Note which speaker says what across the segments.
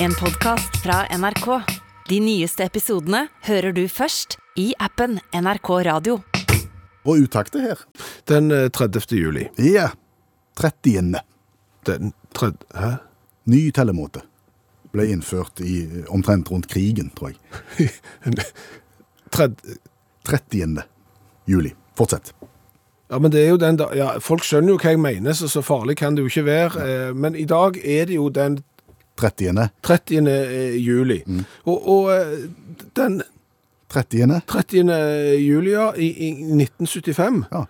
Speaker 1: En podcast fra NRK. De nyeste episodene hører du først i appen NRK Radio.
Speaker 2: Og utakte her.
Speaker 3: Den eh, 30. juli.
Speaker 2: Ja. 30.
Speaker 3: Den 30. Hæ?
Speaker 2: Ny tellemåte ble innført i eh, omtrent rundt krigen, tror jeg.
Speaker 3: 30.
Speaker 2: 30. juli. Fortsett.
Speaker 3: Ja, men det er jo den da, ja, Folk skjønner jo hva jeg mener, så så farlig kan det jo ikke være. eh, Men i dag er det jo den
Speaker 2: 30.
Speaker 3: 30. juli. Og, og eh, den
Speaker 2: 30.
Speaker 3: 30. juli ja, i, i 1975,
Speaker 2: Ja.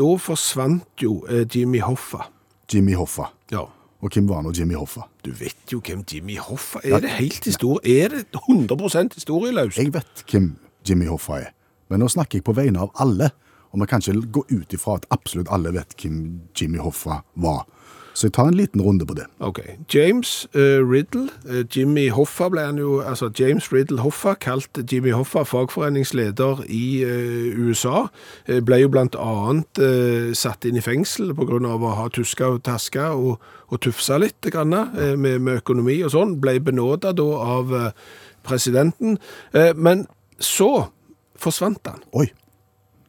Speaker 3: da forsvant jo eh, Jimmy Hoffa.
Speaker 2: Jimmy Hoffa.
Speaker 3: Ja.
Speaker 2: Og hvem var nå Jimmy Hoffa?
Speaker 3: Du vet jo hvem Jimmy Hoffa er. Er det helt historie? Er det 100 historieløst?
Speaker 2: Jeg vet hvem Jimmy Hoffa er, men nå snakker jeg på vegne av alle. Og vi kan ikke gå ut ifra at absolutt alle vet hvem Jimmy Hoffa var. Så jeg tar en liten runde på det.
Speaker 3: Ok. James eh, Riddle, eh, Jimmy Hoffa ble han jo, altså James Riddle Hoffa, kalt Jimmy Hoffa fagforeningsleder i eh, USA, eh, ble jo blant annet eh, satt inn i fengsel på grunn av å ha tuska og taska og, og tufsa litt grann, eh, med, med økonomi og sånn, ble benåda da av eh, presidenten. Eh, men så forsvant han.
Speaker 2: Oi.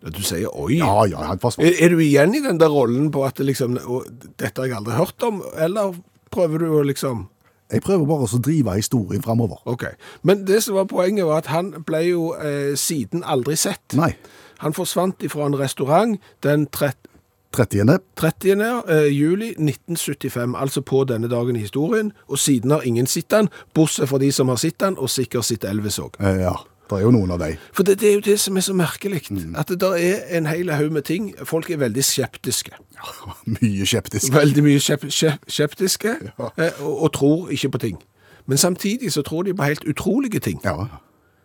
Speaker 3: Du sier oi.
Speaker 2: Ja, ja, han forsvant.
Speaker 3: Er, er du igjen i den der rollen på at det liksom, «Å, dette har jeg aldri hørt om, eller prøver du å liksom
Speaker 2: Jeg prøver bare å drive historien framover.
Speaker 3: Ok. Men det som var poenget, var at han ble jo eh, siden aldri sett.
Speaker 2: Nei.
Speaker 3: Han forsvant ifra en restaurant den tret-
Speaker 2: 30.
Speaker 3: 30. eh, juli 1975, altså på denne dagen i historien, og siden har ingen sett han, bortsett fra de som har sett han, og sikkert sett Elvis òg.
Speaker 2: Eh, ja, det er jo noen av de.
Speaker 3: For det, det er jo det som er så merkelig, at det der er en hel haug med ting. Folk er veldig skeptiske.
Speaker 2: Mye skeptisk.
Speaker 3: Veldig mye skep, skep, skeptiske, eh, og, og tror ikke på ting. Men samtidig så tror de på helt utrolige ting.
Speaker 2: Ja.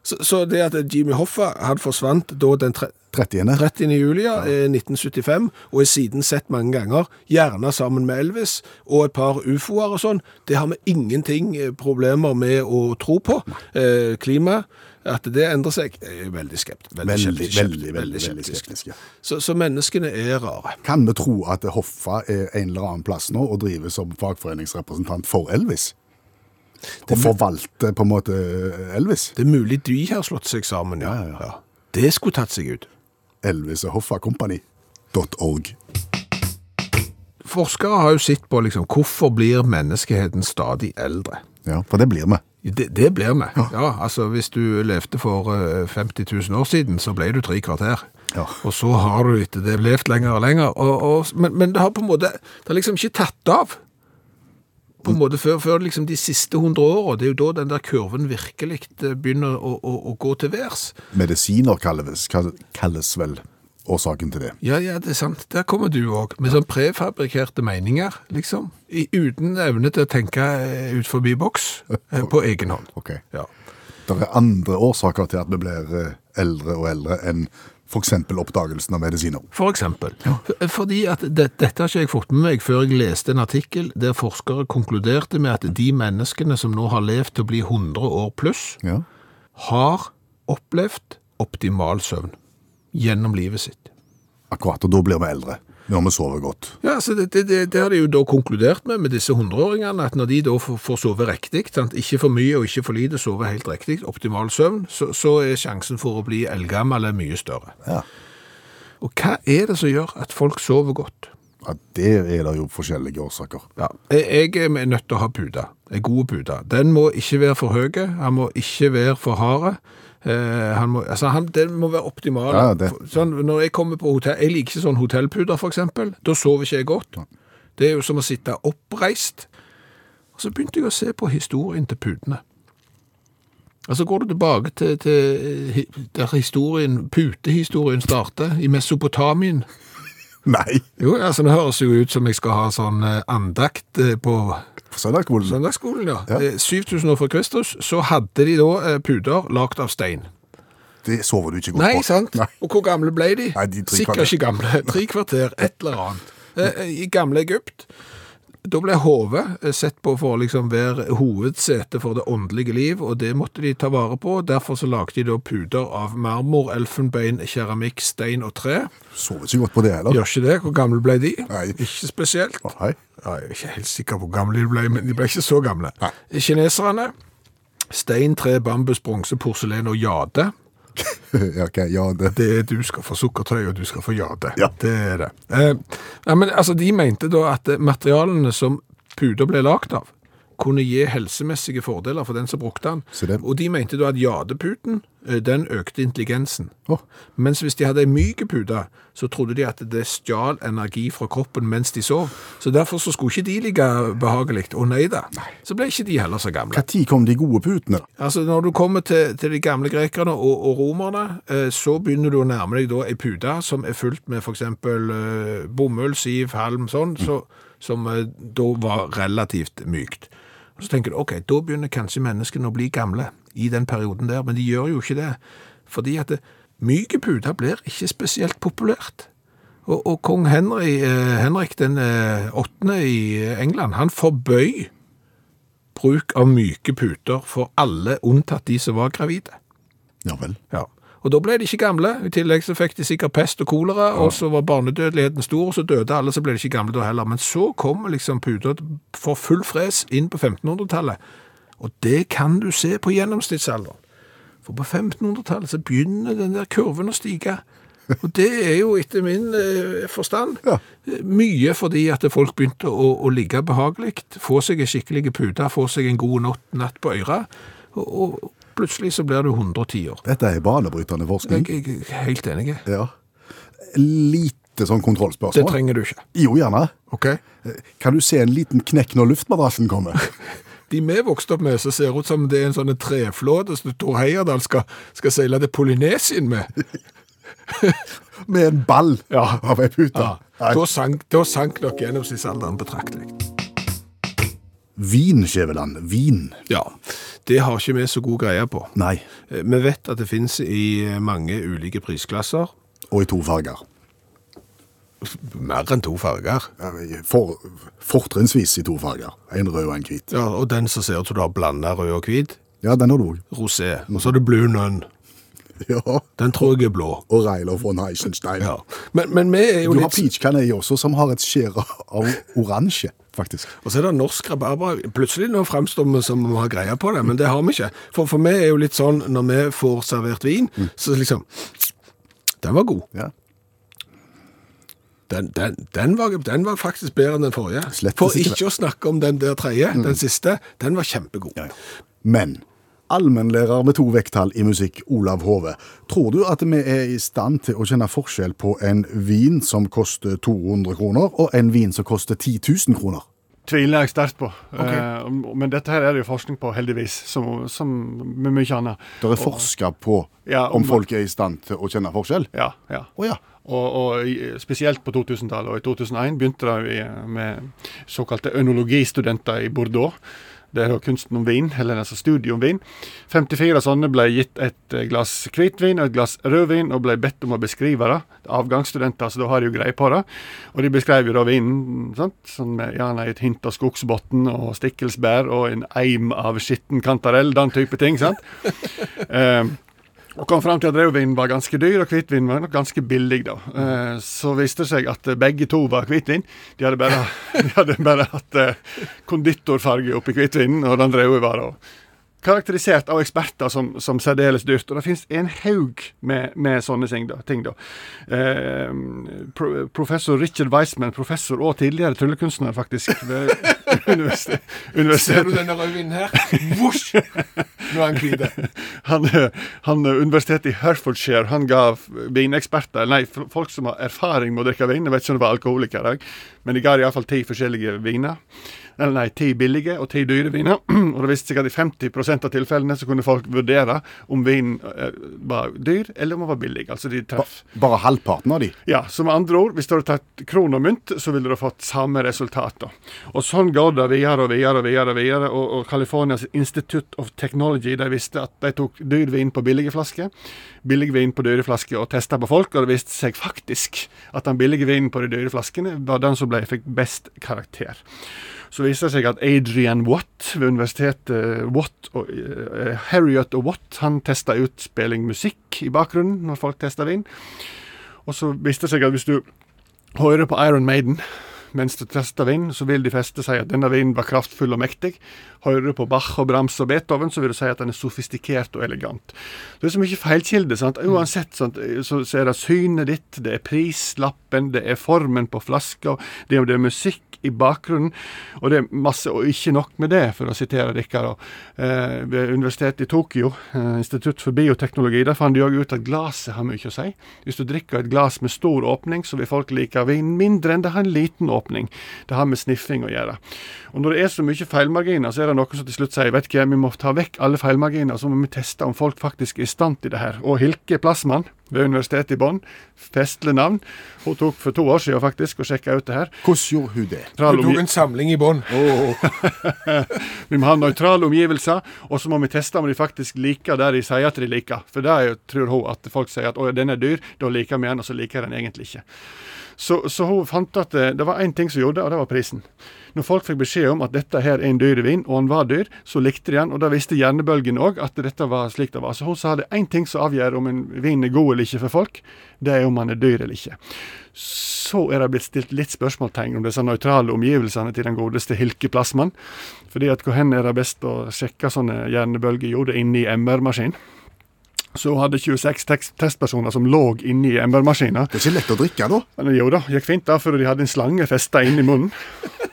Speaker 3: Så, så det at Jimmy Hoffa han forsvant da den tre-
Speaker 2: 30.
Speaker 3: 30. juli ja. eh, 1975, og er siden sett mange ganger, gjerne sammen med Elvis og et par ufoer og sånn, det har vi ingenting eh, problemer med å tro på. Eh, klima, at det endrer seg, er veldig skept. Veldig,
Speaker 2: Veldig,
Speaker 3: skeptisk,
Speaker 2: veldig, veldig, veldig
Speaker 3: skeptisk.
Speaker 2: skeptisk. ja.
Speaker 3: Så, så menneskene er rare.
Speaker 2: Kan vi tro at Hoffa er en eller annen plass nå og driver som fagforeningsrepresentant for Elvis? Og forvalter på en måte Elvis?
Speaker 3: Det er mulig de har slått seg sammen, ja.
Speaker 2: Ja, ja, ja.
Speaker 3: Det skulle tatt seg ut.
Speaker 2: Elvis og Hoffa Company.org.
Speaker 3: Forskere har jo sett på liksom, hvorfor blir menneskeheten stadig eldre.
Speaker 2: Ja, for det blir vi.
Speaker 3: Det, det blir vi. Ja, altså Hvis du levde for eh, 50 000 år siden, så ble du tre kvarter.
Speaker 2: Ja.
Speaker 3: Og så har du etter det levd lenger og lenger. Og, og, men, men det har på en måte Det har liksom ikke tatt av. På en måte Før, før liksom de siste 100 åra. Det er jo da den der kurven virkelig eh, begynner å, å, å gå til værs.
Speaker 2: Medisiner kalles, kalles vel årsaken til det.
Speaker 3: Ja, ja, det er sant. Der kommer du òg. Med sånn prefabrikkerte meninger, liksom. I, uten evne til å tenke eh, ut forbi boks eh, på egen hånd.
Speaker 2: Ok.
Speaker 3: Ja.
Speaker 2: Det er andre årsaker til at vi blir eh, eldre og eldre enn f.eks. oppdagelsen av medisiner.
Speaker 3: For eksempel. F- Fordi at det, dette har ikke jeg fått med meg før jeg leste en artikkel der forskere konkluderte med at de menneskene som nå har levd til å bli 100 år pluss,
Speaker 2: Ja.
Speaker 3: har opplevd optimal søvn gjennom livet sitt.
Speaker 2: Akkurat, og da blir vi eldre. Når vi sover godt.
Speaker 3: Ja, så det, det, det, det har de jo da konkludert med med disse 100-åringene, at når de da får, får sove riktig, sant? ikke for mye og ikke for lite, sove helt riktig, optimal søvn, så, så er sjansen for å bli eldgammel mye større.
Speaker 2: Ja.
Speaker 3: Og hva er det som gjør at folk sover godt?
Speaker 2: Ja, det er det jo forskjellige årsaker.
Speaker 3: Ja, jeg jeg er nødt til å ha puta. En god puta. Den må ikke være for høy, han må ikke være for hard. Eh, han må, altså han, den må være optimal.
Speaker 2: Ja, det-
Speaker 3: Sånn, når jeg kommer på hotell, jeg liker ikke sånn hotellputer for eksempel, da sover ikke jeg godt. Det er jo som å sitte oppreist. Og så begynte jeg å se på historien til putene. Altså går du tilbake til, til eh, hi- der historien, putehistorien starter, i Mesopotamien.
Speaker 2: Nei!
Speaker 3: Jo, altså det høres jo ut som jeg skal ha sånn eh, andakt eh, på
Speaker 2: For søndagsskolen
Speaker 3: Søndagsskolen, ja. Eh, 7000 år før Kristus, så hadde de da eh, puder lagd av stein.
Speaker 2: det sover du ikke godt
Speaker 3: Nei,
Speaker 2: på.
Speaker 3: sant?
Speaker 2: Nei.
Speaker 3: Og hvor gamle ble de?
Speaker 2: Nei, de tre
Speaker 3: Sikkert
Speaker 2: kvarter.
Speaker 3: ikke gamle. Tre kvarter, et eller annet. Eh, eh, I gamle Egypt Da ble hodet eh, sett på for å liksom være hovedsete for det åndelige liv, og det måtte de ta vare på. Derfor så lagde de da puter av marmor, elfenbein, keramikk, stein og tre.
Speaker 2: Sover ikke godt på det heller.
Speaker 3: Gjør ikke det. Hvor gamle ble de?
Speaker 2: Nei.
Speaker 3: Ikke spesielt.
Speaker 2: Å, Hei.
Speaker 3: Ja, Jeg er ikke helt sikker på hvor gamle de ble, men de ble ikke så gamle. Kineserne, stein, tre, bambus, bronse, porselen og jade.
Speaker 2: ja, ok, ja, det.
Speaker 3: Det er du skal få sukkertøy, og du skal få jade.
Speaker 2: Ja.
Speaker 3: Det er det. Eh, ja, men altså, de mente da at eh, materialene som puder ble lagt av, kunne gi helsemessige fordeler for den som brukte den.
Speaker 2: Så det-
Speaker 3: Og de mente da at jadeputen, eh, den økte intelligensen.
Speaker 2: Å,
Speaker 3: Mens hvis de hadde en myk pute, så trodde de at det stjal energi fra kroppen mens de sov. Så derfor så skulle ikke de ligge behagelig. Å nei da. Så ble ikke de heller så gamle.
Speaker 2: hva tid kom de gode putene? da?
Speaker 3: Altså Når du kommer til, til de gamle grekerne og, og romerne, eh, så begynner du å nærme deg da ei pute som er fullt med f.eks. Eh, bomull, siv, halm, sånn, så, som eh, da var relativt mykt. Og Så tenker du ok, da begynner kanskje menneskene å bli gamle i den perioden der, men de gjør jo ikke det. Fordi at det, myke puter blir ikke spesielt populært. Og, og kong Henry, eh, Henrik den eh, åttende i eh, England, han forbøy bruk av myke puter for alle unntatt de som var gravide.
Speaker 2: Ja vel.
Speaker 3: Ja. Og da ble de ikke gamle. I tillegg så fikk de sikkert pest og kolera, og så var barnedødeligheten stor, og så døde alle, så ble de ikke gamle da heller. Men så kom liksom puter for full fres inn på 1500-tallet. Og det kan du se på gjennomsnittsalderen. For på 1500-tallet så begynner den der kurven å stige. Og det er jo etter min eh, forstand
Speaker 2: Ja.
Speaker 3: eh, mye fordi at folk begynte å, å ligge behagelig, få seg en skikkelig pute, få seg en god natt, natt på øra, og, og plutselig så blir du 110 år.
Speaker 2: Dette er banebrytende forskning.
Speaker 3: Jeg, jeg er helt enig.
Speaker 2: Ja. Lite sånn
Speaker 3: Det
Speaker 2: kontrollspørsmål.
Speaker 3: trenger du ikke.
Speaker 2: Jo, gjerne.
Speaker 3: ok?
Speaker 2: Kan du se en liten knekk når luftmadrassen kommer?
Speaker 3: De vi vokste opp med, så ser ut som det er en sånn en treflåte som Tor Heyerdahl skal, skal seile til Polynesien med.
Speaker 2: Med en ball
Speaker 3: Ja.
Speaker 2: av ei pute.
Speaker 3: Ja.
Speaker 2: Nei.
Speaker 3: Da sank, da sank nok gjennomsnittsalderen betraktelig.
Speaker 2: Vin, Skjæveland. Vin.
Speaker 3: Ja, det har ikke vi så god greie på.
Speaker 2: Nei.
Speaker 3: Eh, Vi vet at det finnes i eh, mange ulike prisklasser.
Speaker 2: Og i to farger.
Speaker 3: Mer enn to farger.
Speaker 2: For, fortrinnsvis i to farger. En rød og en hvit.
Speaker 3: Ja, og den som ser ut som du har blanda rød og hvit.
Speaker 2: Ja, den har du òg.
Speaker 3: Rosé. Og så er det Blue Nun.
Speaker 2: Ja.
Speaker 3: Den tror jeg er blå.
Speaker 2: Og Reiler von Heisenstein.
Speaker 3: Ja. Men, men vi er jo
Speaker 2: Du har
Speaker 3: litt
Speaker 2: peach canay også, som har et skjær av oransje, faktisk.
Speaker 3: Og så er det norsk rabarbra. Plutselig nå fremstår vi som om vi har greie på det, men det har vi ikke. For for meg er jo litt sånn, når vi får servert vin, så liksom Den var god.
Speaker 2: Ja.
Speaker 3: Den, den, den, var, den var faktisk bedre enn den forrige.
Speaker 2: Slettes
Speaker 3: For
Speaker 2: ikke
Speaker 3: ikke å snakke om den der tredje, den siste. Den var kjempegod.
Speaker 2: Men allmennlærer med to vekttall i musikk, Olav Hove, tror du at vi er i stand til å kjenne forskjell på en vin som koster 200 kroner, og en vin som koster 10 000 kroner?
Speaker 4: tviler jeg sterkt på. Eh, men dette her er det jo forskning på, heldigvis, som, som med mye annet.
Speaker 2: Det er forska på
Speaker 4: Ja,
Speaker 2: om
Speaker 4: om-
Speaker 2: folk er i stand til å kjenne forskjell.
Speaker 4: Ja, ja.
Speaker 2: Å ja.
Speaker 4: Og, og i- spesielt på 2000-tallet. Og i 2001 begynte det i- med såkalte ønologistudenter i Bordeaux. Det er da kunsten om vin, eller altså studiet om vin. 54 sånne ble gitt et glass hvitvin og et glass rødvin, og ble bedt om å beskrive det. Avgangsstudenter, så da har de jo greie på det. Og de beskrev jo da vinen sant? sånn med gjerne et hint av skogsbotn og stikkelsbær og en eim av skitten kantarell, den type ting. sant? Ehm, og kom fram til at rødvin var ganske dyr, og hvitvin var nok ganske billig. da. Eh, Så viste det seg at eh, begge to var hvitvin. De hadde bare, de hadde bare hatt eh, konditorfarge oppi hvitvinen, og den røde var da karakterisert av eksperter som, som særdeles dyrt. Og det finnes en haug med, med sånne ting. da. Ting da. Eh, pro, professor Richard Weissman, professor og tidligere tryllekunstner, faktisk, ved universitet, universitetet
Speaker 3: Ser du denne rødvinen her? Vosj! Nå er han hvit.
Speaker 4: han, eh, han eh, Universitetet i Hertfordshire han ga vineksperter, nei, f- folk som har erfaring med å drikke vin, jeg vet ikke om det var alkoholikere, jeg, men de ga iallfall ti forskjellige viner. Eller nei, ti billige og ti dyre viner. og det viste seg at i 50 av tilfellene så kunne folk vurdere om vinen eh, var dyr, eller om den var billig. Altså de
Speaker 2: Ba-
Speaker 4: treff.
Speaker 2: Bare halvparten av de.
Speaker 4: Ja, så med andre ord, hvis du hadde tatt kron og mynt, så ville du ha fått samme resultat. da. Og sånn går det videre og videre og videre. Og videre, og, og Californias Institute of Technology de visste at de tok dyr vin på billige flasker, billig vin på dyre flasker og testa på folk, og det viste seg faktisk at den billige vinen på de dyre flaskene var den som ble de fikk best karakter. Så viser det seg at Adrian Watt ved universitetet Watt og, eh, Harriet og Watt han testa ut spilling musikk i bakgrunnen når folk testa vin. Og så viste det seg at hvis du hører på Iron Maiden mens du tester vin, så vil de fleste si at denne vinen var kraftfull og mektig. Hører du på Bach og Brahms og Beethoven, så vil du si at den er sofistikert og elegant. Det er så mye feilkilde. sant? Uansett sant? Så, så er det synet ditt, det er prislappen, det er formen på flaska, det, er- det er musikk i bakgrunnen, og det er masse, og ikke nok med det, for å sitere Rikard. og, Eh, ved Universitetet i Tokyo, eh, Institutt for bioteknologi, der fant de òg ut at glasset har mye å si. Hvis du drikker et glass med stor åpning, så vil folk like vin mindre enn det har en liten åpning. Det har med sniffing å gjøre. Og når det er så mye feilmarginer, så er det noen som til slutt sier vet ikke, vi må ta vekk alle feilmarginer, så må vi teste om folk faktisk er i stand til det her. Og Hilke Plassmann ved Universitetet i Bonn, festlig navn, hun tok for to år siden faktisk og sjekka ut det her.
Speaker 2: Hvordan gjorde hun det?
Speaker 3: Du
Speaker 4: Tral omgi-
Speaker 3: tok en samling i bånn.
Speaker 4: Vi må ha nøytrale omgivelser, og så må vi teste om de faktisk liker det de sier at de liker. For det er jo, tror hun at folk sier at 'å, den er dyr', da liker vi den, og så liker jeg den egentlig ikke. Så, så hun fant at eh, det var én ting som gjorde det, og det var prisen. Når folk fikk beskjed om at dette her er en dyr vin, og den var dyr, så likte de den, og det visste hjernebølgen òg, at dette var slik det var. Så hun sa det er én ting som avgjør om en vin er god eller ikke for folk, det er om den er dyr eller ikke. Så er det blitt stilt litt spørsmålstegn om disse nøytrale omgivelsene til den godeste Hilke Plassmann. Fordi at hvor hen er det best å sjekke sånne hjernebølger? Jo, det er inne i MR-maskin. Så hun hadde 26 tekst- testpersoner som lå inne i MR-maskiner.
Speaker 2: Det er ikke lett å drikke, da.
Speaker 4: Men jo da, gikk fint da, for de hadde en slange festa inn i munnen.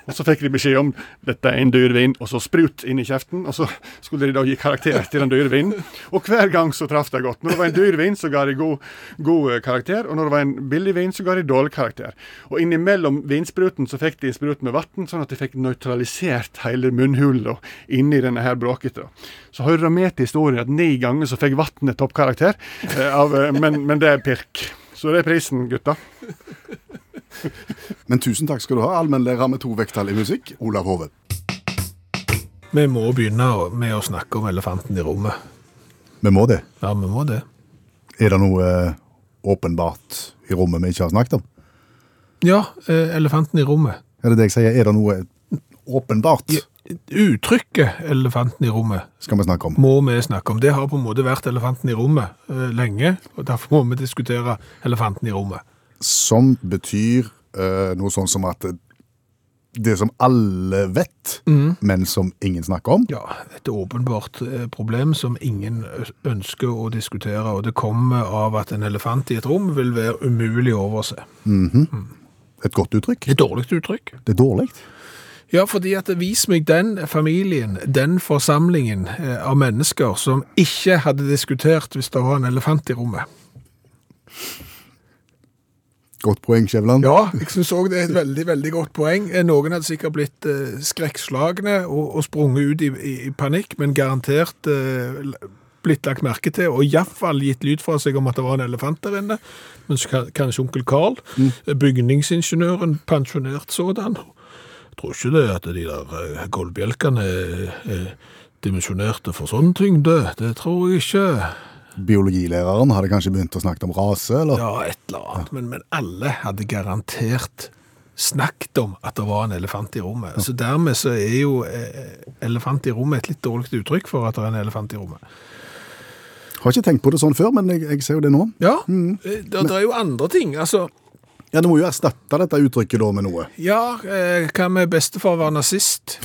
Speaker 4: Og så fikk de beskjed om dette er en dyr vin, og så sprut inn i kjeften. Og så skulle de da gi karakter til den dyre vinen. Og hver gang så traff det godt. Når det var en dyr vin, så ga de god, god eh, karakter. Og når det var en billig vin, så ga de dårlig karakter. Og innimellom vinspruten så fikk de en sprut med vann, sånn at de fikk nøytralisert hele munnhula inni denne her bråkete. Så hører det med til historien at ni ganger så fikk vannet toppkarakter, eh, av, eh, men, men det er pirk. Så det er prisen, gutta.
Speaker 2: Men tusen takk skal du ha, allmennlærer med to vekttall i musikk, Olav Hove.
Speaker 3: Vi må begynne å- med å snakke om elefanten i rommet.
Speaker 2: Vi må det.
Speaker 3: Ja, vi må det.
Speaker 2: Er det noe eh, åpenbart i rommet vi ikke har snakket om?
Speaker 3: Ja, eh, elefanten i rommet.
Speaker 2: Er det det jeg sier? Er det noe eh, åpenbart
Speaker 3: Uttrykket 'elefanten i rommet'
Speaker 2: skal vi snakke om?
Speaker 3: må vi snakke om. Det har på en måte vært elefanten i rommet eh, lenge, og derfor må vi diskutere elefanten i rommet.
Speaker 2: Som betyr eh, noe sånn som at eh, det som alle vet, men som ingen snakker om.
Speaker 3: Ja, et åpenbart eh, problem som ingen ø- ønsker å diskutere, og det kommer av at en elefant i et rom vil være umulig å overse.
Speaker 2: Et godt uttrykk.
Speaker 3: Et dårlig uttrykk.
Speaker 2: Det er dårlig.
Speaker 3: Ja, fordi at vis meg den familien, den forsamlingen eh, av mennesker som ikke hadde diskutert hvis det var en elefant i rommet.
Speaker 2: Godt poeng, Skjæveland.
Speaker 3: Ja, jeg syns òg det er et veldig veldig godt poeng. Eh, Noen hadde sikkert blitt eh, skrekkslagne og, og sprunget ut i, i, i panikk, men garantert eh, l- blitt lagt merke til, og iallfall gitt lyd fra seg om at det var en elefant der inne. Men så kan- kanskje onkel Carl, eh, bygningsingeniøren, pensjonert sådan. Jeg tror ikke det at de der eh, gulvbjelkene er- er dimensjonerte for sånn tyngde. Det tror jeg ikke.
Speaker 2: Biologilæreren hadde kanskje begynt å snakke om rase, eller?
Speaker 3: Ja, et eller annet. Men, men alle hadde garantert snakket om at det var en elefant i rommet. Så dermed så er jo eh, elefant i rommet et litt dårlig uttrykk for at det er en elefant i rommet.
Speaker 2: Har ikke tenkt på det sånn før, men jeg, jeg ser jo det nå.
Speaker 3: Ja, eh, det, det er jo andre ting. Altså,
Speaker 2: Ja, Du må jo erstatte dette uttrykket da med noe.
Speaker 3: ja, eh, hva med bestefar var nazist?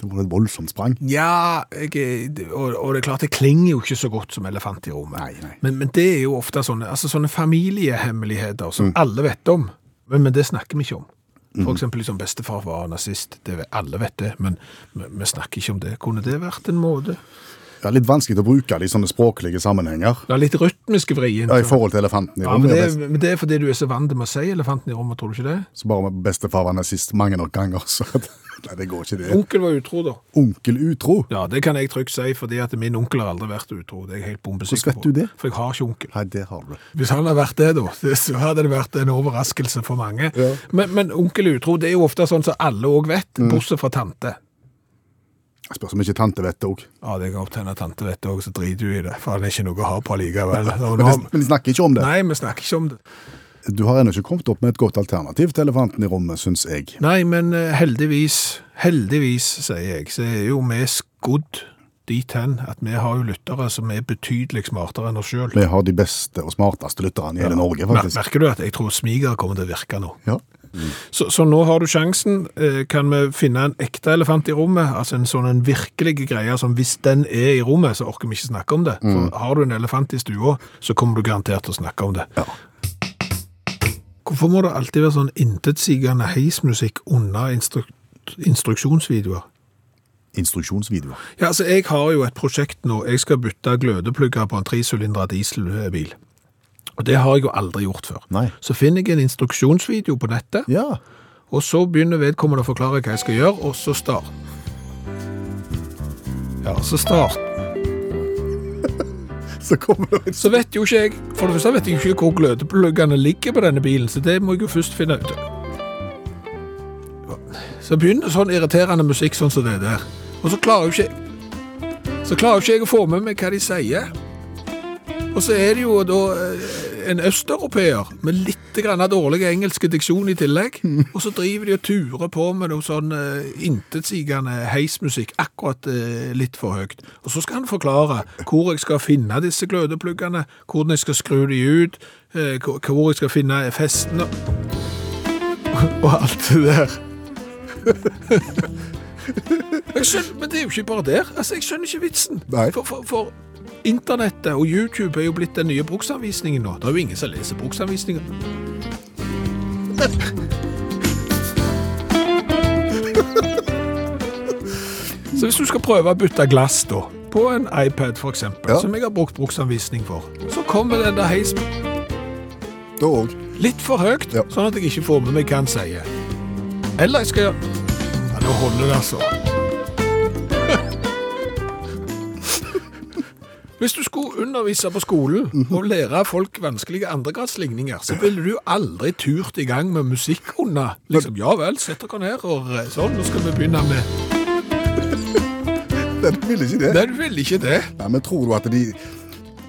Speaker 2: Det var et voldsomt sprang.
Speaker 3: Ja, jeg, er- og, og det er klart det klinger jo ikke så godt som elefant i rommet.
Speaker 2: Nei, nei.
Speaker 3: Men, men det er jo ofte sånne, altså sånne familiehemmeligheter som
Speaker 2: Mm.
Speaker 3: alle vet om, men, men det snakker vi ikke om. For eksempel liksom bestefar var nazist, det vet, alle vet det, men vi, vi snakker ikke om det. Kunne det vært en måte?
Speaker 2: Det er litt vanskelig å bruke det i sånne språklige sammenhenger.
Speaker 3: La litt rytmiske vrien.
Speaker 2: Ja, I forhold til elefanten i
Speaker 3: Ja, men
Speaker 2: rommet.
Speaker 3: det,
Speaker 2: Ja,
Speaker 3: er- men det er fordi du er så vant til å si elefanten i rommet, tror du ikke det?
Speaker 2: Så bare med bestefar var nazist mange nok ganger, så at- Nei, det går ikke det.
Speaker 3: Onkel var utro da.
Speaker 2: Onkel utro.
Speaker 3: Ja, det kan jeg trygt si, fordi at min onkel har aldri vært utro. Det er jeg helt bombesikker
Speaker 2: Hvordan
Speaker 3: på.
Speaker 2: vet du det?
Speaker 3: For jeg har ikke onkel.
Speaker 2: Nei, det har du.
Speaker 3: Hvis han hadde vært det, da, så hadde det vært en overraskelse for mange. Men, men onkel utro det er jo ofte sånn som alle òg vet, bortsett fra tante.
Speaker 2: Jeg spørs om ikke tante vet det òg.
Speaker 3: Ja, det kan godt hende tante vet det òg, så driter du i det. For han er ikke noe å ha på likevel.
Speaker 2: Men de snakker ikke om det.
Speaker 3: Nei, vi snakker ikke om det.
Speaker 2: Du har ennå ikke kommet opp med et godt alternativ til elefanten i rommet, syns jeg.
Speaker 3: Nei, men eh, heldigvis, heldigvis, sier jeg, så er jo vi skodd dit hen at vi har jo lyttere som er betydelig smartere enn oss sjøl.
Speaker 2: Vi har de beste og smarteste lytterne i hele Norge, faktisk.
Speaker 3: Merker du at jeg tror smiger kommer til å virke nå?
Speaker 2: Ja.
Speaker 3: Så, så nå har du sjansen. Eh, Kan vi finne en ekte elefant i rommet? Altså en sånn en virkelig greie som hvis den er i rommet, så orker vi ikke snakke om det. For har du en elefant i stua, så kommer du garantert til å snakke om det.
Speaker 2: Ja.
Speaker 3: Hvorfor må det alltid være sånn intetsigende heismusikk under instruk instruksjonsvideoer?
Speaker 2: Instruksjonsvideoer.
Speaker 3: Ja, altså Jeg har jo et prosjekt nå. Jeg skal bytte glødeplugger på en tresylindra dieselbil. Og Det har jeg jo aldri gjort før.
Speaker 2: Nei.
Speaker 3: Så finner jeg en instruksjonsvideo på nettet,
Speaker 2: Ja.
Speaker 3: og så begynner vedkommende å forklare hva jeg skal gjøre, og så start. Ja, så start.
Speaker 2: Så kommer det
Speaker 3: Så vet jo ikke jeg For det første vet jeg ikke hvor glødepluggene ligger på denne bilen, så det må jeg jo først finne ut av. Så begynner sånn irriterende musikk sånn som det der. Og så klarer jo ikke Så klarer jo ikke jeg å få med meg hva de sier. Og så er det jo da eh, en østeuropeer med litt grann dårlig engelsk diksjon i tillegg. Og så driver de og turer på med noe sånn uh, intetsigende heismusikk akkurat eh, litt for høyt. Og så skal han forklare hvor jeg skal finne disse glødepluggene, hvordan jeg skal skru de ut, eh, hvor hvor jeg skal finne festene og alt det der. Jeg skjønner, men det er jo ikke bare der. Altså, Jeg skjønner ikke vitsen.
Speaker 2: Nei.
Speaker 3: For, for, for internettet og YouTube er jo blitt den nye bruksanvisningen nå. Det er jo ingen som leser bruksanvisningen. Så hvis du skal prøve å bytte glass da, på en iPad for eksempel,
Speaker 2: Ja.
Speaker 3: som jeg har brukt bruksanvisning for, så kommer den der heisen
Speaker 2: Da òg.
Speaker 3: litt for høyt,
Speaker 2: Ja.
Speaker 3: sånn at jeg ikke får med meg hva han sier. Eller jeg skal gjøre Ja, nå holder det, altså. Hvis du skulle undervise på skolen og lære folk vanskelige andregradsligninger, så ville du aldri turt i gang med musikk under. Liksom, ja vel, sett dere ned, og eh, sånn, nå skal vi begynne med
Speaker 2: Den ville ikke det.
Speaker 3: Nei, du vil ikke det.
Speaker 2: Nei, men tror du at de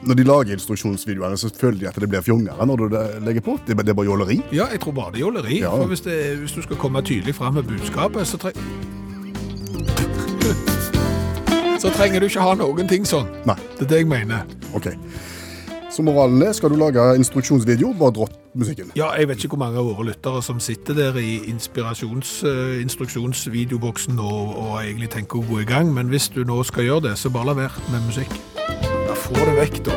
Speaker 2: Når de lager instruksjonsvideoene, så føler de at det blir fjongere når du det- legger på? Det, er bare- det er bare jåleri?
Speaker 3: Ja, jeg tror bare det er jåleri.
Speaker 2: Ja.
Speaker 3: For hvis, det, hvis du skal komme tydelig frem med budskapet, så trenger Så trenger du ikke ha noen ting sånn.
Speaker 2: Nei.
Speaker 3: Det er det jeg mener.
Speaker 2: OK. Så moralen er, skal du lage instruksjonsvideo, bare dropp musikken.
Speaker 3: Ja, jeg vet ikke hvor mange av våre lyttere som sitter der i inspirasjons- eh, instruksjonsvideoboksen og, og egentlig tenker å gå i gang, men hvis du nå skal gjøre det, så bare la være med musikk. Da får det vekk, da.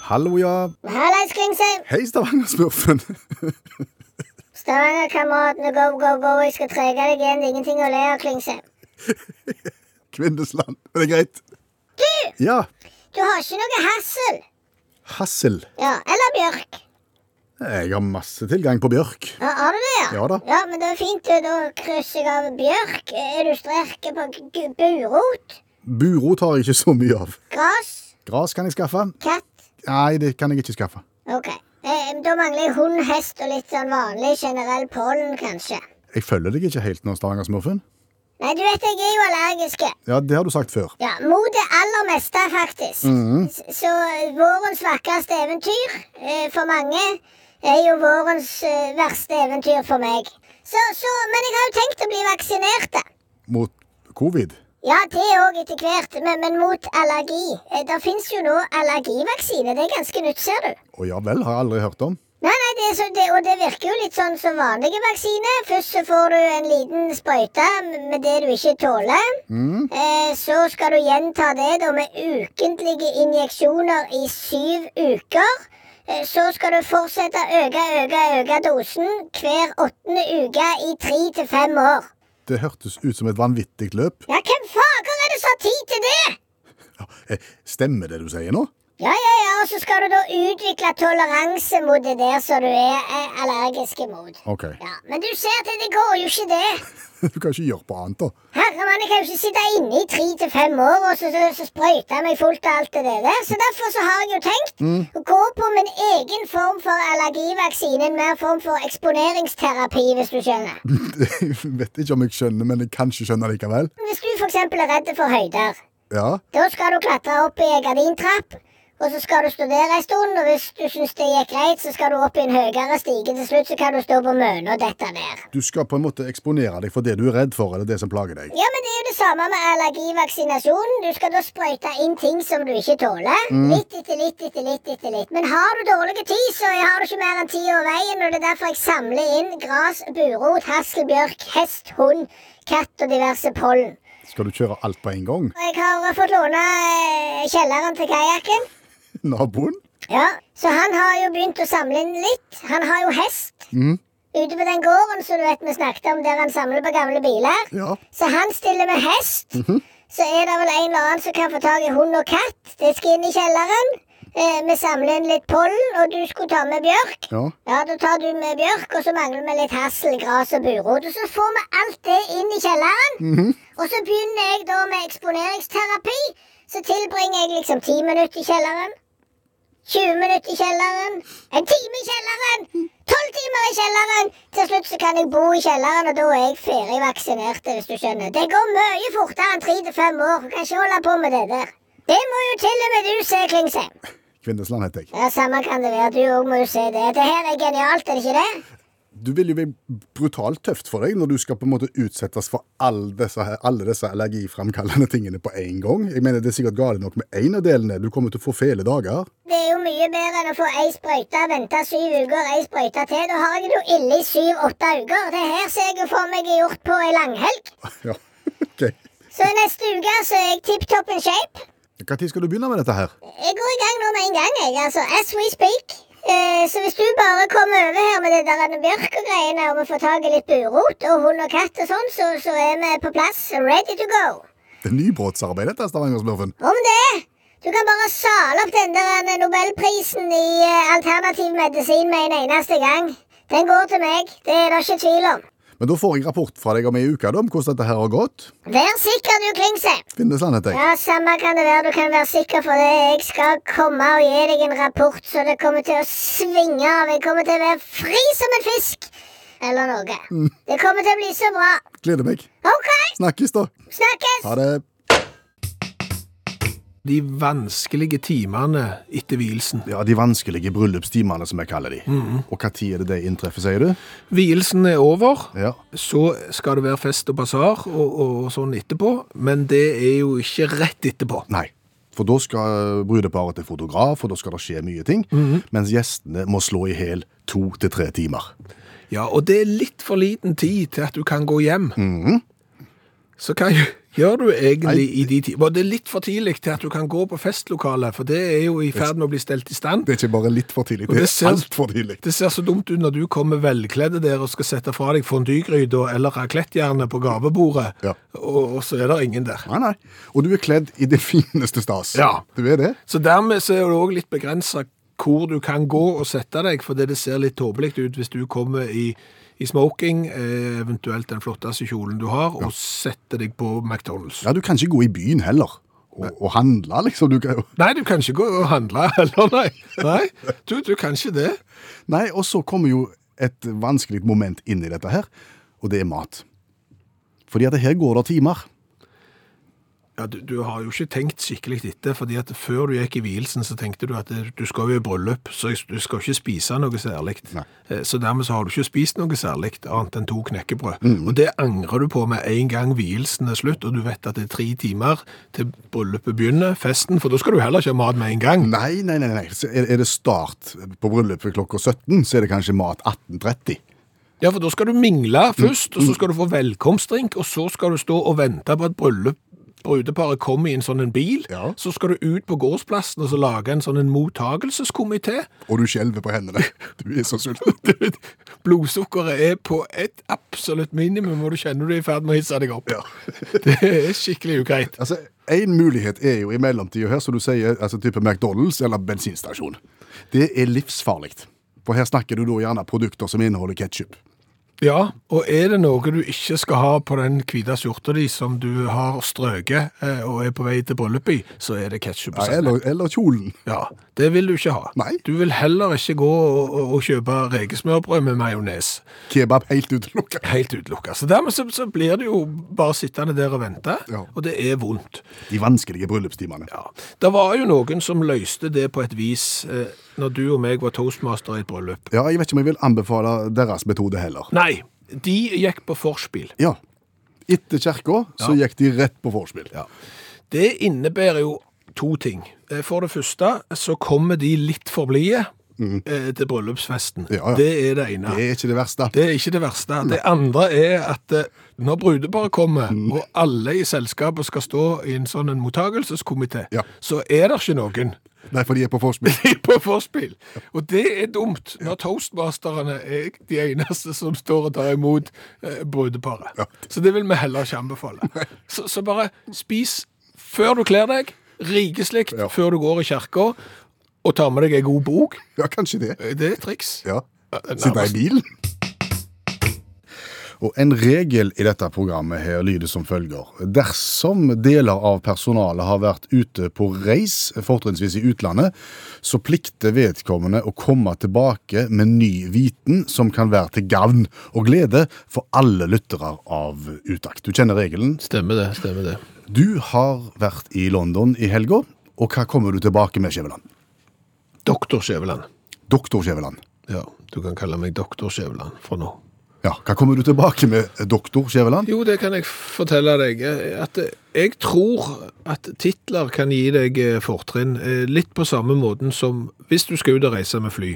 Speaker 2: Hallo, ja.
Speaker 5: Hallais, Klingsheim!
Speaker 2: Hei, Stavanger-smurfen.
Speaker 5: Stavangerkameratene, go, go, go. Jeg skal trege deg igjen. Det er ingenting å le av, Klingsheim.
Speaker 2: Kvinnesland. Er det greit? Ja.
Speaker 5: Du har ikke noe hassel.
Speaker 2: Hassel.
Speaker 5: Ja, eller bjørk.
Speaker 2: Jeg har masse tilgang på bjørk.
Speaker 5: Ja, har du det, ja?
Speaker 2: Ja da.
Speaker 5: Ja, men det er fint. du. Da krysser jeg av bjørk. Er du sterk på g- g- burot?
Speaker 2: Burot har jeg ikke så mye av.
Speaker 5: Gras?
Speaker 2: Gras kan jeg skaffe.
Speaker 5: Katt?
Speaker 2: Nei, det kan jeg ikke skaffe.
Speaker 5: OK. Eh, da mangler jeg hund, hest og litt sånn vanlig generell pollen, kanskje.
Speaker 2: Jeg følger deg ikke helt nå, Stavanger-smurfen.
Speaker 5: Nei, du vet jeg er jo allergisk.
Speaker 2: Ja, det har du sagt før.
Speaker 5: Ja, mot det aller meste, faktisk. S- Så eh, vårens vakreste eventyr eh, for mange er jo vårens eh, verste eventyr for meg. Så, så, men jeg har jo tenkt å bli vaksinert. da.
Speaker 2: Mot covid.
Speaker 5: Ja, det òg etter hvert, men, men mot allergi. Eh, der fins jo nå allergivaksine. Det er ganske nytt, ser du.
Speaker 2: Å ja vel, har jeg aldri hørt om.
Speaker 5: Nei, nei, det er så, det, Og det virker jo litt sånn som vanlige vaksiner. Først så får du en liten sprøyte med det du ikke tåler. Eh, så skal du gjenta det da med ukentlige injeksjoner i syv uker. Eh, Så skal du fortsette å øke, øke, øke dosen hver åttende uke i tre til fem år.
Speaker 2: Det hørtes ut som et vanvittig løp.
Speaker 5: Ja, hvem fager er det som har tid til det?
Speaker 2: Ja, eh, Stemmer det du sier nå?
Speaker 5: Ja, ja, ja, og så skal du da utvikle toleranse mot det der som du er eh, allergisk mot.
Speaker 2: OK.
Speaker 5: Ja, Men du ser at det går jo ikke det.
Speaker 2: Du kan ikke gjøre på annet, da.
Speaker 5: Herremann, jeg kan jo ikke sitte inne i tre til fem år og så, så, så sprøyte jeg meg fullt av alt det der. Så derfor så har jeg jo tenkt å gå på min egen form for allergivaksine. En mer form for eksponeringsterapi, hvis du skjønner.
Speaker 2: Mm. Jeg vet ikke om jeg skjønner, men jeg kan ikke skjønne likevel.
Speaker 5: Hvis du f.eks. er redd for høyder,
Speaker 2: Ja,
Speaker 5: da skal du klatre opp i ei gardintrapp. Og så skal du studere en stund, og hvis du syns det gikk greit, så skal du opp i en høyere stige. Til slutt så kan du stå på møna og dette ned.
Speaker 2: Du skal på en måte eksponere deg for det du er redd for, eller det som plager deg.
Speaker 5: Ja, men det er jo det samme med allergivaksinasjon. Du skal da sprøyte inn ting som du ikke tåler. Litt etter litt etter litt etter litt. Men har du dårlig tid, så har du ikke mer enn ti år veien, og det er derfor jeg samler inn gras, burot, hasselbjørk, hest, hund, katt og diverse pollen.
Speaker 2: Skal du kjøre alt på en gang?
Speaker 5: Og jeg har fått låne eh, kjelleren til kajakken.
Speaker 2: Naboen?
Speaker 5: Ja, så han har jo begynt å samle inn litt. Han har jo hest ute på den gården som du vet vi snakket om, der han samler på gamle biler.
Speaker 2: Ja.
Speaker 5: Så han stiller med hest. Så er det vel en eller annen som kan få tak i hund og katt. Det skal inn i kjelleren. Eh, vi samler inn litt pollen, og du skulle ta med bjørk.
Speaker 2: Ja.
Speaker 5: Ja, da tar du med bjørk, og så mangler vi litt hassel, gras og burot. Og så får vi alt det inn i kjelleren. Og så begynner jeg da med eksponeringsterapi. Så tilbringer jeg liksom ti minutter i kjelleren. 20 minutter i kjelleren. En time i kjelleren. Tolv timer i kjelleren. Til slutt så kan jeg bo i kjelleren, og da er jeg ferdig vaksinert, hvis du skjønner. Det går mye fortere enn tre til fem år. Du kan ikke holde på med det der. Det må jo til og med du se, Klingsheim.
Speaker 2: Kvindesland heter jeg.
Speaker 5: Ja, Samme kan det være. Du òg må jo se det. Det her er genialt, er det ikke det?
Speaker 2: Du vil jo bli brutalt tøft for deg når du skal på en måte utsettes for alle disse, her- alle disse allergiframkallende tingene på en gang. Jeg mener, Det er sikkert galt nok med én av delene. Du kommer til å få fæle dager.
Speaker 5: Det er jo mye bedre enn å få ei sprøyte, vente syv uker, ei sprøyte til. Da har jeg det jo ille i syv-åtte uker. Det her ser jeg jo for meg er gjort på ei langhelg.
Speaker 2: Ja, ok.
Speaker 5: Så neste uke så er jeg tipp topp in shape.
Speaker 2: Når skal du begynne med dette her?
Speaker 5: Jeg går i gang nå med en gang, jeg. Altså as we speak. Eh, så hvis du bare kommer over her med det der Anne bjørk og greiene, og vi får tak i litt burot og hund og katt og sånn, så, så er vi på plass. Ready to go.
Speaker 2: Det er nybrottsarbeid, dette, Stavanger-smurfen.
Speaker 5: Om det! Du kan bare sale opp den der eh, nobelprisen i eh, alternativ medisin med en eneste gang. Den går til meg. Det er det ikke tvil om.
Speaker 2: Men da får jeg rapport fra deg om ei uke da, om hvordan dette her har gått.
Speaker 5: Vær sikker, du, Klingsheim.
Speaker 2: Kvindesland heter jeg.
Speaker 5: Ja, samme kan det være. Du kan være sikker for det. Jeg skal komme og gi deg en rapport, så det kommer til å svinge av. Jeg kommer til å være fri som en fisk. Eller noe. Det kommer til å bli så bra.
Speaker 2: Gleder meg.
Speaker 5: OK,
Speaker 2: Snakkes, da.
Speaker 5: snakkes!
Speaker 2: Ha det.
Speaker 3: De vanskelige timene etter vielsen.
Speaker 2: Ja, De vanskelige bryllupstimene, som jeg kaller de.
Speaker 3: Mhm.
Speaker 2: Og hva tid er det det inntreffer, sier du?
Speaker 3: Vielsen er over.
Speaker 2: Ja.
Speaker 3: Så skal det være fest og basar og, og sånn etterpå, men det er jo ikke rett etterpå.
Speaker 2: Nei. For da skal brudeparet til fotograf, og da skal det skje mye ting.
Speaker 3: Mhm.
Speaker 2: Mens gjestene må slå i hæl to til tre timer.
Speaker 3: Ja, og det er litt for liten tid til at du kan gå hjem. Så hva gjør du egentlig i de tider? Var det er litt for tidlig til at du kan gå på festlokalet, for det er jo i ferd med å bli stelt i stand.
Speaker 2: Det er ikke bare litt for tidlig,
Speaker 3: Og
Speaker 2: det
Speaker 3: det
Speaker 2: er
Speaker 3: ser-
Speaker 2: altfor tidlig.
Speaker 3: Det ser så dumt ut når du kommer velkledde der og skal sette fra deg fondygryta eller raclettjernet på gavebordet,
Speaker 2: Ja.
Speaker 3: og, og så er det ingen der.
Speaker 2: Nei, nei. Og du er kledd i det fineste stas.
Speaker 3: Ja.
Speaker 2: Du er det.
Speaker 3: Så dermed så er det òg litt begrensa hvor du kan gå og sette deg, fordi det ser litt tåpelig ut hvis du kommer i, i smoking, eh, eventuelt den flotteste kjolen du har, og setter deg på McDonald's.
Speaker 2: Ja, Du kan ikke gå i byen heller og, og handle, liksom. Du kan jo
Speaker 3: Nei, du kan ikke gå og handle heller, nei. nei du, du kan ikke det.
Speaker 2: Nei, og så kommer jo et vanskelig moment inn i dette her, og det er mat. Fordi at her går det timer.
Speaker 3: Ja, du, du har jo ikke tenkt skikkelig etter, fordi at før du gikk i vielsen, så tenkte du at eh, du skal jo i bryllup, så jeg- du skal ikke spise noe særlig.
Speaker 2: Nei.
Speaker 3: Eh, Så dermed så har du ikke spist noe særlig, annet enn to knekkebrød.
Speaker 2: Mm.
Speaker 3: Og det angrer du på med en gang vielsen er slutt, og du vet at det er tre timer til bryllupet begynner, festen, for da skal du heller ikke ha mat med en gang.
Speaker 2: Nei, nei, nei. nei. Så er, er det start på bryllupet klokka 17, så er det kanskje mat 18.30.
Speaker 3: Ja, for da skal du
Speaker 2: Mm.
Speaker 3: mingle først, og så skal du få velkomstdrink, og så skal du stå og vente på at bryllup brudeparet kommer i en sånn en bil,
Speaker 2: Ja.
Speaker 3: så skal du ut på gårdsplassen og så lage en sånn en mottagelseskomité,
Speaker 2: Og du skjelver på hendene. Du er så sulten.
Speaker 3: Du vet, Blodsukkeret er på et absolutt minimum, og du kjenner du er i ferd med å hisse deg opp. det er skikkelig ugreit.
Speaker 2: Altså, En mulighet er jo i mellomtida her, som du sier, altså type McDonald's eller bensinstasjon. Det er livsfarlig. For her snakker du da gjerne produkter som inneholder ketsjup.
Speaker 3: Ja, og er det noe du ikke skal ha på den hvite skjorta di som du har strøket eh, og er på vei til bryllup i, så er det ketsjup og
Speaker 2: Ja,
Speaker 3: sennep.
Speaker 2: eller, eller kjolen.
Speaker 3: Ja, det vil du ikke ha.
Speaker 2: Nei.
Speaker 3: Du vil heller ikke gå og, og, og kjøpe rekesmørbrød med majones.
Speaker 2: Kebab helt utelukka.
Speaker 3: Helt utelukka. Så dermed så, så blir du jo bare sittende der og vente,
Speaker 2: Ja.
Speaker 3: og det er vondt.
Speaker 2: De vanskelige bryllupstimene.
Speaker 3: Ja. Det var jo noen som løste det på et vis eh, når du og meg var toastmaster i et bryllup.
Speaker 2: Ja, jeg vet ikke om jeg vil anbefale deres metode heller.
Speaker 3: Nei, de gikk på forspill.
Speaker 2: Ja. Etter kirka så
Speaker 3: Ja.
Speaker 2: gikk de rett på vorspiel.
Speaker 3: Ja. Det innebærer jo to ting. Eh, For det første så kommer de litt for blide eh, til bryllupsfesten.
Speaker 2: Mhm. Ja, ja.
Speaker 3: Det er det ene.
Speaker 2: Det er ikke det verste.
Speaker 3: Det er ikke det verste. Det andre er at eh, når brudeparet kommer,
Speaker 2: Mhm.
Speaker 3: og alle i selskapet skal stå i en sånn en mottagelseskomité,
Speaker 2: Ja.
Speaker 3: så er det ikke noen
Speaker 2: Nei, for de er på vorspiel.
Speaker 3: på forspill. Og det er dumt når toastmasterne er de eneste som står og tar imot eh, brudeparet.
Speaker 2: Ja.
Speaker 3: Så det vil vi heller ikke anbefale. Så, så bare spis før du kler deg, rikeslikt
Speaker 2: Ja.
Speaker 3: før du går i kirka, og tar med deg ei god bok.
Speaker 2: Ja, kanskje det.
Speaker 3: Eh, Det er et triks.
Speaker 2: Ja.
Speaker 3: Nærmest.
Speaker 2: Sitte i bilen. Og en regel i dette programmet her lyder som følger. Dersom deler av personalet har vært ute på reis, fortrinnsvis i utlandet, så plikter vedkommende å komme tilbake med ny viten som kan være til gavn og glede for alle lyttere av Utakt. Du kjenner regelen.
Speaker 3: Stemmer det. stemmer det.
Speaker 2: Du har vært i London i helga, og hva kommer du tilbake med, Skjæveland?
Speaker 3: Doktor Skjæveland.
Speaker 2: Doktor Skjæveland.
Speaker 3: Ja, du kan kalle meg doktor Skjæveland fra nå.
Speaker 2: Ja, hva kommer du tilbake med, doktor Skjæveland?
Speaker 3: Jo, det kan jeg fortelle deg. eh, At eh, jeg tror at titler kan gi deg eh, fortrinn. eh, Litt på samme måten som hvis du skal ut og reise med fly.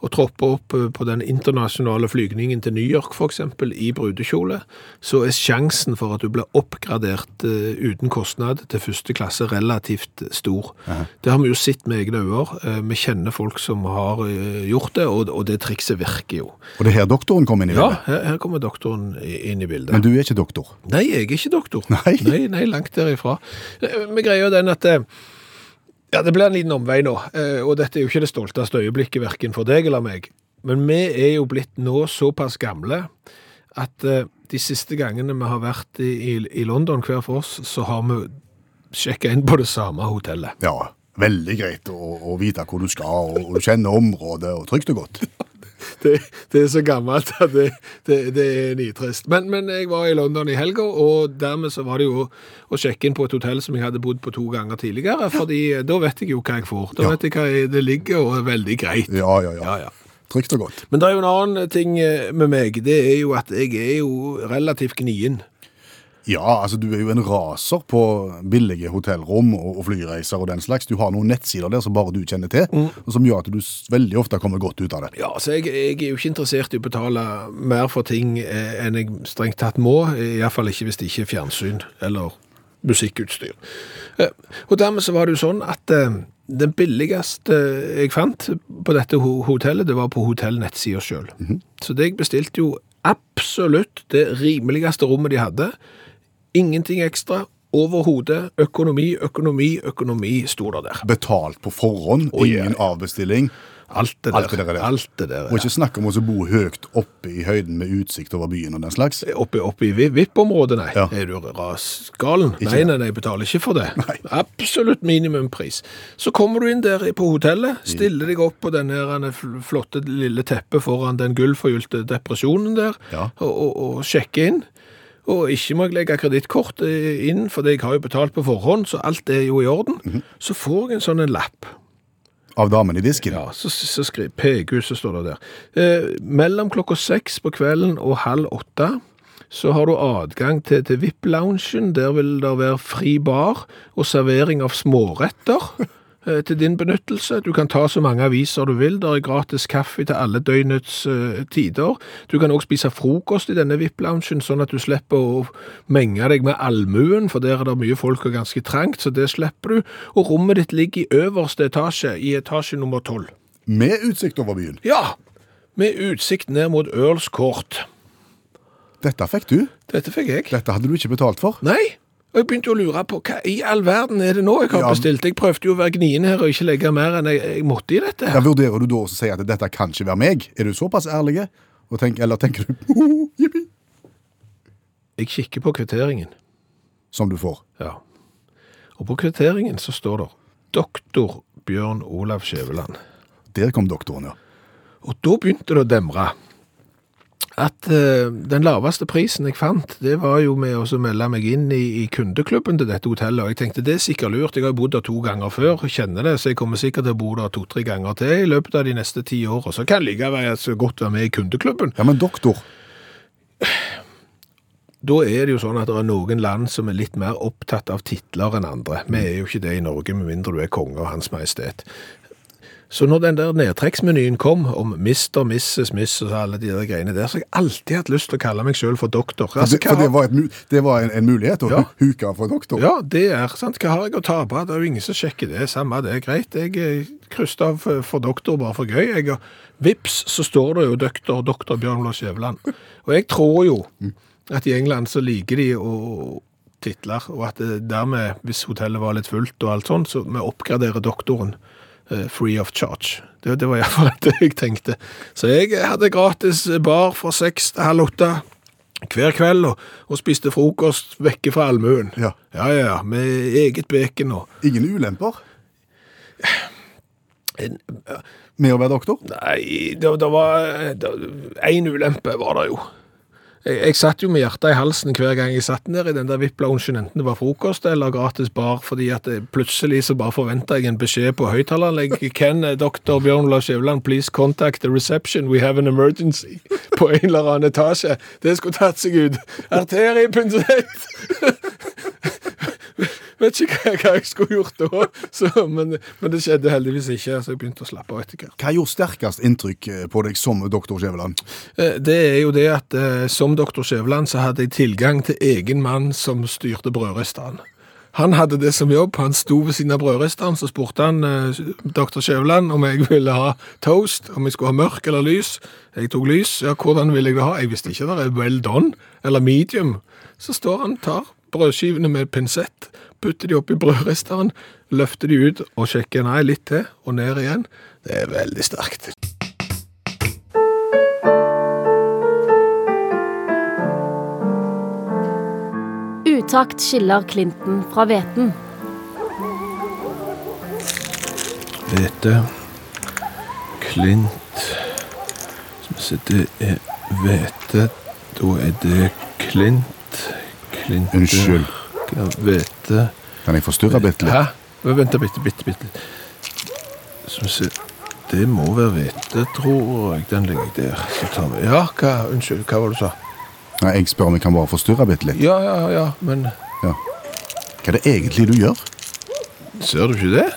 Speaker 3: Og troppe opp eh, på den internasjonale flygningen til New York f.eks. i brudekjole, så er sjansen for at du blir oppgradert eh, uten kostnad til første klasse relativt stor. Det har vi jo sett med egne øyne. Vi kjenner folk som har eh, gjort det, og og det trikset virker jo.
Speaker 2: Og det er her doktoren kom inn i
Speaker 3: Ja,
Speaker 2: bildet.
Speaker 3: her her kommer doktoren i- inn i bildet.
Speaker 2: Men du er ikke doktor.
Speaker 3: Nei, jeg er ikke doktor.
Speaker 2: Nei?
Speaker 3: nei, nei, langt derifra. Eh, Men greia er den at eh, ja, det blir en liten omvei nå, eh, og dette er jo ikke det stolteste øyeblikket verken for deg eller meg. Men vi er jo blitt nå såpass gamle at eh, de siste gangene vi har vært i, i, i London hver for oss, så har vi sjekka inn på det samme hotellet.
Speaker 2: Ja, veldig greit å, å vite hvor du skal, og, og du kjenner området, og trygt og godt.
Speaker 3: det, det er så gammelt at det, det, det er nitrist. Men, men jeg var i London i helga, og dermed så var det jo å, å sjekke inn på et hotell som jeg hadde bodd på to ganger tidligere, fordi eh, da vet jeg jo hva jeg får. Da
Speaker 2: Ja.
Speaker 3: vet jeg hva jeg- det ligger, og er veldig greit.
Speaker 2: Ja, ja, ja.
Speaker 3: Ja, ja.
Speaker 2: Trygt og godt.
Speaker 3: Men det er jo en annen ting eh, med meg, det er jo at jeg er jo relativt gnien.
Speaker 2: Ja, altså du er jo en raser på billige hotellrom og, og flyreiser og den slags. Du har noen nettsider der som bare du kjenner til,
Speaker 3: Mm.
Speaker 2: og som gjør at du s- veldig ofte kommer godt ut av det.
Speaker 3: Ja, så jeg, jeg er jo ikke interessert i å betale mer for ting eh, enn jeg strengt tatt må, iallfall ikke hvis det ikke er fjernsyn eller musikkutstyr. Eh, Og dermed så var det jo sånn at eh, den billigste eh, jeg fant på dette ho- hotellet, det var på hotellnettsida sjøl.
Speaker 2: Mhm.
Speaker 3: Så det jeg bestilte jo absolutt det rimeligste rommet de hadde. Ingenting ekstra. Overhodet økonomi, økonomi, økonomi sto der der.
Speaker 2: Betalt på forhånd,
Speaker 3: Å, ja,
Speaker 2: ingen avbestilling.
Speaker 3: Alt det der.
Speaker 2: Alt det der er det.
Speaker 3: Alt det der er
Speaker 2: Og ikke snakk om å bo høyt oppe i høyden med utsikt over byen og den slags.
Speaker 3: Oppe, oppe i vi- VIP-området, nei.
Speaker 2: Ja.
Speaker 3: Er du rasgalen?
Speaker 2: Ikke
Speaker 3: Nei,
Speaker 2: det.
Speaker 3: nei, nei, jeg betaler ikke for det. Absolutt minimumpris. Så kommer du inn der på hotellet,
Speaker 2: Mm.
Speaker 3: stiller deg opp på den her eh, fl- flotte lille teppet foran den gullforgylte depresjonen der,
Speaker 2: Ja.
Speaker 3: og, og, og sjekker inn. Og ikke må jeg legge kredittkort eh, inn, for jeg har jo betalt på forhånd, så alt er jo i orden.
Speaker 2: Mhm.
Speaker 3: Så får jeg en sånn en lapp.
Speaker 2: Av damen i disken.
Speaker 3: Ja, så, så skriver PGU, så står det der. Eh, mellom klokka seks på kvelden og halv åtte så har du adgang til, til VIP-loungen. Der vil det være fri bar og servering av småretter eh, til din benyttelse. Du kan ta så mange aviser du vil. Der er gratis kaffe til alle døgnets eh, tider. Du kan også spise frokost i denne VIP-loungen, sånn at du slipper å menge deg med allmuen, for der er det mye folk og ganske trangt, så det slipper du. Og rommet ditt ligger i øverste etasje, i etasje nummer tolv.
Speaker 2: Med utsikt over byen.
Speaker 3: Ja, med utsikt ned mot Earls Court.
Speaker 2: Dette fikk du.
Speaker 3: Dette fikk jeg.
Speaker 2: Dette hadde du ikke betalt for.
Speaker 3: Nei. Og jeg begynte å lure på hva i all verden er det nå jeg har
Speaker 2: Ja.
Speaker 3: bestilt. Jeg prøvde jo å være gnien her og ikke legge mer enn jeg, jeg måtte i dette.
Speaker 2: Ja,
Speaker 3: her.
Speaker 2: Vurderer du da å si at dette kan ikke være meg? Er du såpass ærlig? Og tenk, eller tenker du «Hoho, jippi»,
Speaker 3: Jeg kikker på kvitteringen.
Speaker 2: som du får?
Speaker 3: Ja. Og på kvitteringen så står det doktor Bjørn Olav Skjæveland.
Speaker 2: Der kom doktoren, ja.
Speaker 3: Og da begynte det å demre. At eh, den laveste prisen jeg fant, det var jo med å så melde meg inn i, i kundeklubben til dette hotellet. Og jeg tenkte det er sikkert lurt, jeg har jo bodd der to ganger før, kjenner det, så jeg kommer sikkert til å bo der to-tre ganger til i løpet av de neste ti årene. Så kan det likevel så godt være med i kundeklubben.
Speaker 2: Ja, men doktor,
Speaker 3: Da er det jo sånn at det er noen land som er litt mer opptatt av titler enn andre. Vi er jo ikke det i Norge, med mindre du er konge og Hans Majestet. Så når den der nedtrekksmenyen kom om Mr., Mrs., Miss og alle de der greiene der, så har jeg alltid hatt lyst til å kalle meg sjøl for doktor.
Speaker 2: for
Speaker 3: Altså,
Speaker 2: det, for det
Speaker 3: hva-
Speaker 2: var, et, mu- det var en, en mulighet å
Speaker 3: Ja.
Speaker 2: huke for doktor.
Speaker 3: Ja, det er sant. Hva har jeg å tape? Det er jo ingen som sjekker det. Samme det, er greit. Jeg eh, krysset av for- for doktor bare for gøy. Jeg, og vips, så står det jo doktor, doktor Bjørn Lars Skjæveland. Og jeg tror jo at i England så liker de å titler, og at det dermed, hvis hotellet var litt fullt og alt sånt, så vi oppgraderer doktoren eh, free of charge. Det, det var iallfall det jeg tenkte. Så jeg hadde gratis bar fra seks til halv åtte hver kveld, og, og spiste frokost vekke fra allmuen.
Speaker 2: Ja.
Speaker 3: Ja, ja, ja, med eget bacon og
Speaker 2: Ingen ulemper
Speaker 3: en,
Speaker 2: med å være doktor?
Speaker 3: Nei, det, det var Én ulempe var det jo. Jeg, jeg satt jo med hjertet i halsen hver gang jeg satt ned i den der VIP-loungen, enten det var frokost eller gratis bar, fordi at det, plutselig så bare forventa jeg en beskjed på høyttaleranlegget. Can eh, Dr. Bjørn Lars Skjæveland please contact the reception, we have an emergency, på en eller annen etasje. Det skulle tatt seg ut. Arteriepunktert! Vet ikke hva, hva jeg skulle gjort da, så, men, men det skjedde heldigvis ikke, så jeg begynte å slappe av etter hvert.
Speaker 2: Hva gjorde sterkest inntrykk eh, på deg som doktor Skjæveland?
Speaker 3: Eh, Det er jo det at eh, som doktor Skjæveland så hadde jeg tilgang til egen mann som styrte brødristeren. Han hadde det som jobb, han sto ved siden av brødristeren, så spurte han eh, doktor Skjæveland om jeg ville ha toast, om jeg skulle ha mørk eller lys. Jeg tok lys, ja, hvordan ville jeg det ha? Jeg visste ikke, det er well done, eller medium. Så står han, tar brødskivene med pinsett, putter de opp i brødristeren, løfter de ut og sjekker, nei, litt til, og ned igjen. Det er veldig sterkt.
Speaker 6: Utakt skiller Clinton fra hveten.
Speaker 3: Hvete. Klint. Skal vi se, det er hvete. Da er det klint. Klint
Speaker 2: Unnskyld.
Speaker 3: Hvete.
Speaker 2: Kan jeg forstyrre bitte litt?
Speaker 3: Hæ? Men Vent da, bitte, bitte, bitte. Skal vi se. Det må være hvete, tror jeg. Den ligger der. Så tar vi Ja, hva? Unnskyld, hva var det du sa?
Speaker 2: Nei, jeg spør om jeg kan bare forstyrre bitte litt.
Speaker 3: Ja, ja, ja, men
Speaker 2: Ja. Hva er det egentlig du gjør?
Speaker 3: Ser du ikke det?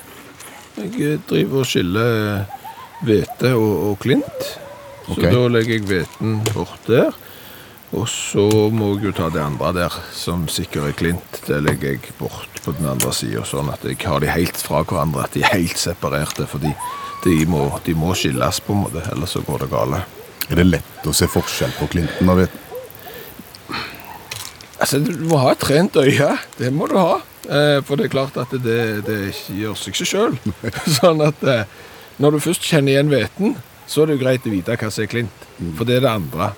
Speaker 3: Jeg eh, driver og skiller eh, hvete og, og klint. Så
Speaker 2: Ok.
Speaker 3: da legger jeg hveten bort der. Og så må jeg jo ta det andre der, som sikkert er klint. Det legger jeg bort på den andre sida, sånn at jeg har de helt fra hverandre. At de er helt separerte, fordi de må, de må skilles, på en måte. Ellers så går det gale.
Speaker 2: Er det lett å se forskjell på Clinton og Hveten?
Speaker 3: Altså, du må ha et trent øye. Det må du ha. Eh, for det er klart at det, det ikke gjør seg ikke sjøl. sånn at eh, når du først kjenner igjen hveten, så er det jo greit å vite hva som er klint. For det er det andre.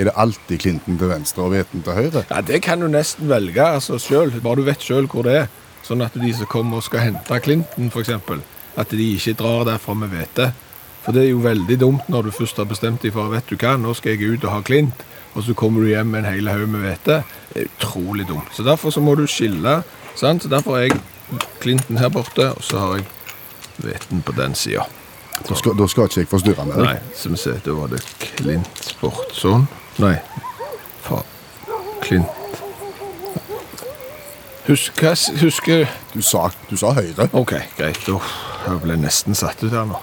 Speaker 2: Er det alltid Clinton til venstre og Hveten til høyre?
Speaker 3: Ja, Det kan du nesten velge altså sjøl, bare du vet sjøl hvor det er. Sånn at de som kommer og skal hente klinten, f.eks., at de ikke drar derfra med hvete. For det er jo veldig dumt når du først har bestemt deg for vet du hva, nå skal jeg ut og ha klint, og så kommer du hjem med en hel haug med hvete. Det er utrolig dumt. Så derfor så må du skille. sant? Så Derfor har jeg klinten her borte, og så har jeg hveten på den sida.
Speaker 2: Da skal, da skal ikke jeg forstyrre med det.
Speaker 3: Nei, som vi ser, da var det Klint bort sånn. Nei, faen. Klint. Husk, hva s- husker
Speaker 2: Du sa, du sa høyre.
Speaker 3: Ok, greit. Uff, jeg ble nesten satt ut her nå.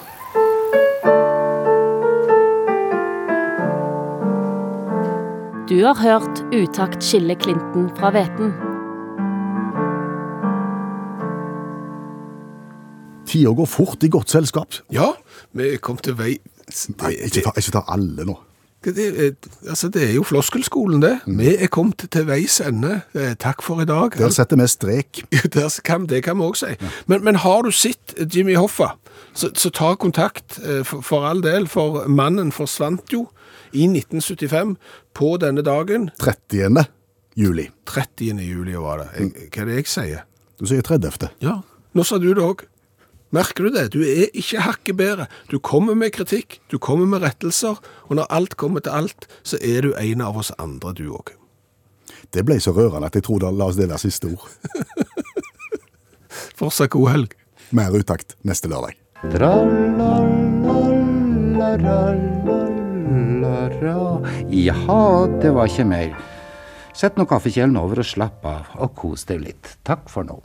Speaker 6: Du har hørt Utakt skiller Clinton fra hveten.
Speaker 2: Tida går fort i godt selskap.
Speaker 3: Ja, vi kom til vei
Speaker 2: Nei, ikke ta, ikke ta alle nå.
Speaker 3: det, er- altså, det er jo floskelskolen, det. Vi er kommet til veis ende. Eh, Takk for i dag.
Speaker 2: Der setter vi strek.
Speaker 3: Der kan, det kan vi òg si. Men, men har du sett Jimmy Hoffa, så, så ta kontakt, eh, for, for all del, for mannen forsvant jo i 1975 på denne dagen.
Speaker 2: 30. juli.
Speaker 3: 30. juli var det. Jeg, hva er det jeg sier?
Speaker 2: Du sier 30.
Speaker 3: Ja. Nå sa du det òg. Merker du det? Du er ikke hakket bedre. Du kommer med kritikk, du kommer med rettelser, og når alt kommer til alt, så er du en av oss andre, du òg.
Speaker 2: Det ble så rørende at jeg tror da la oss det være siste ord.
Speaker 3: Fortsatt god helg.
Speaker 2: Mer utakt neste lørdag.
Speaker 7: Tra-la-la-la-la-la-la. Jaha, det var ikke mer. Sett nå kaffekjelen over og slapp av, og kos deg litt. Takk for nå.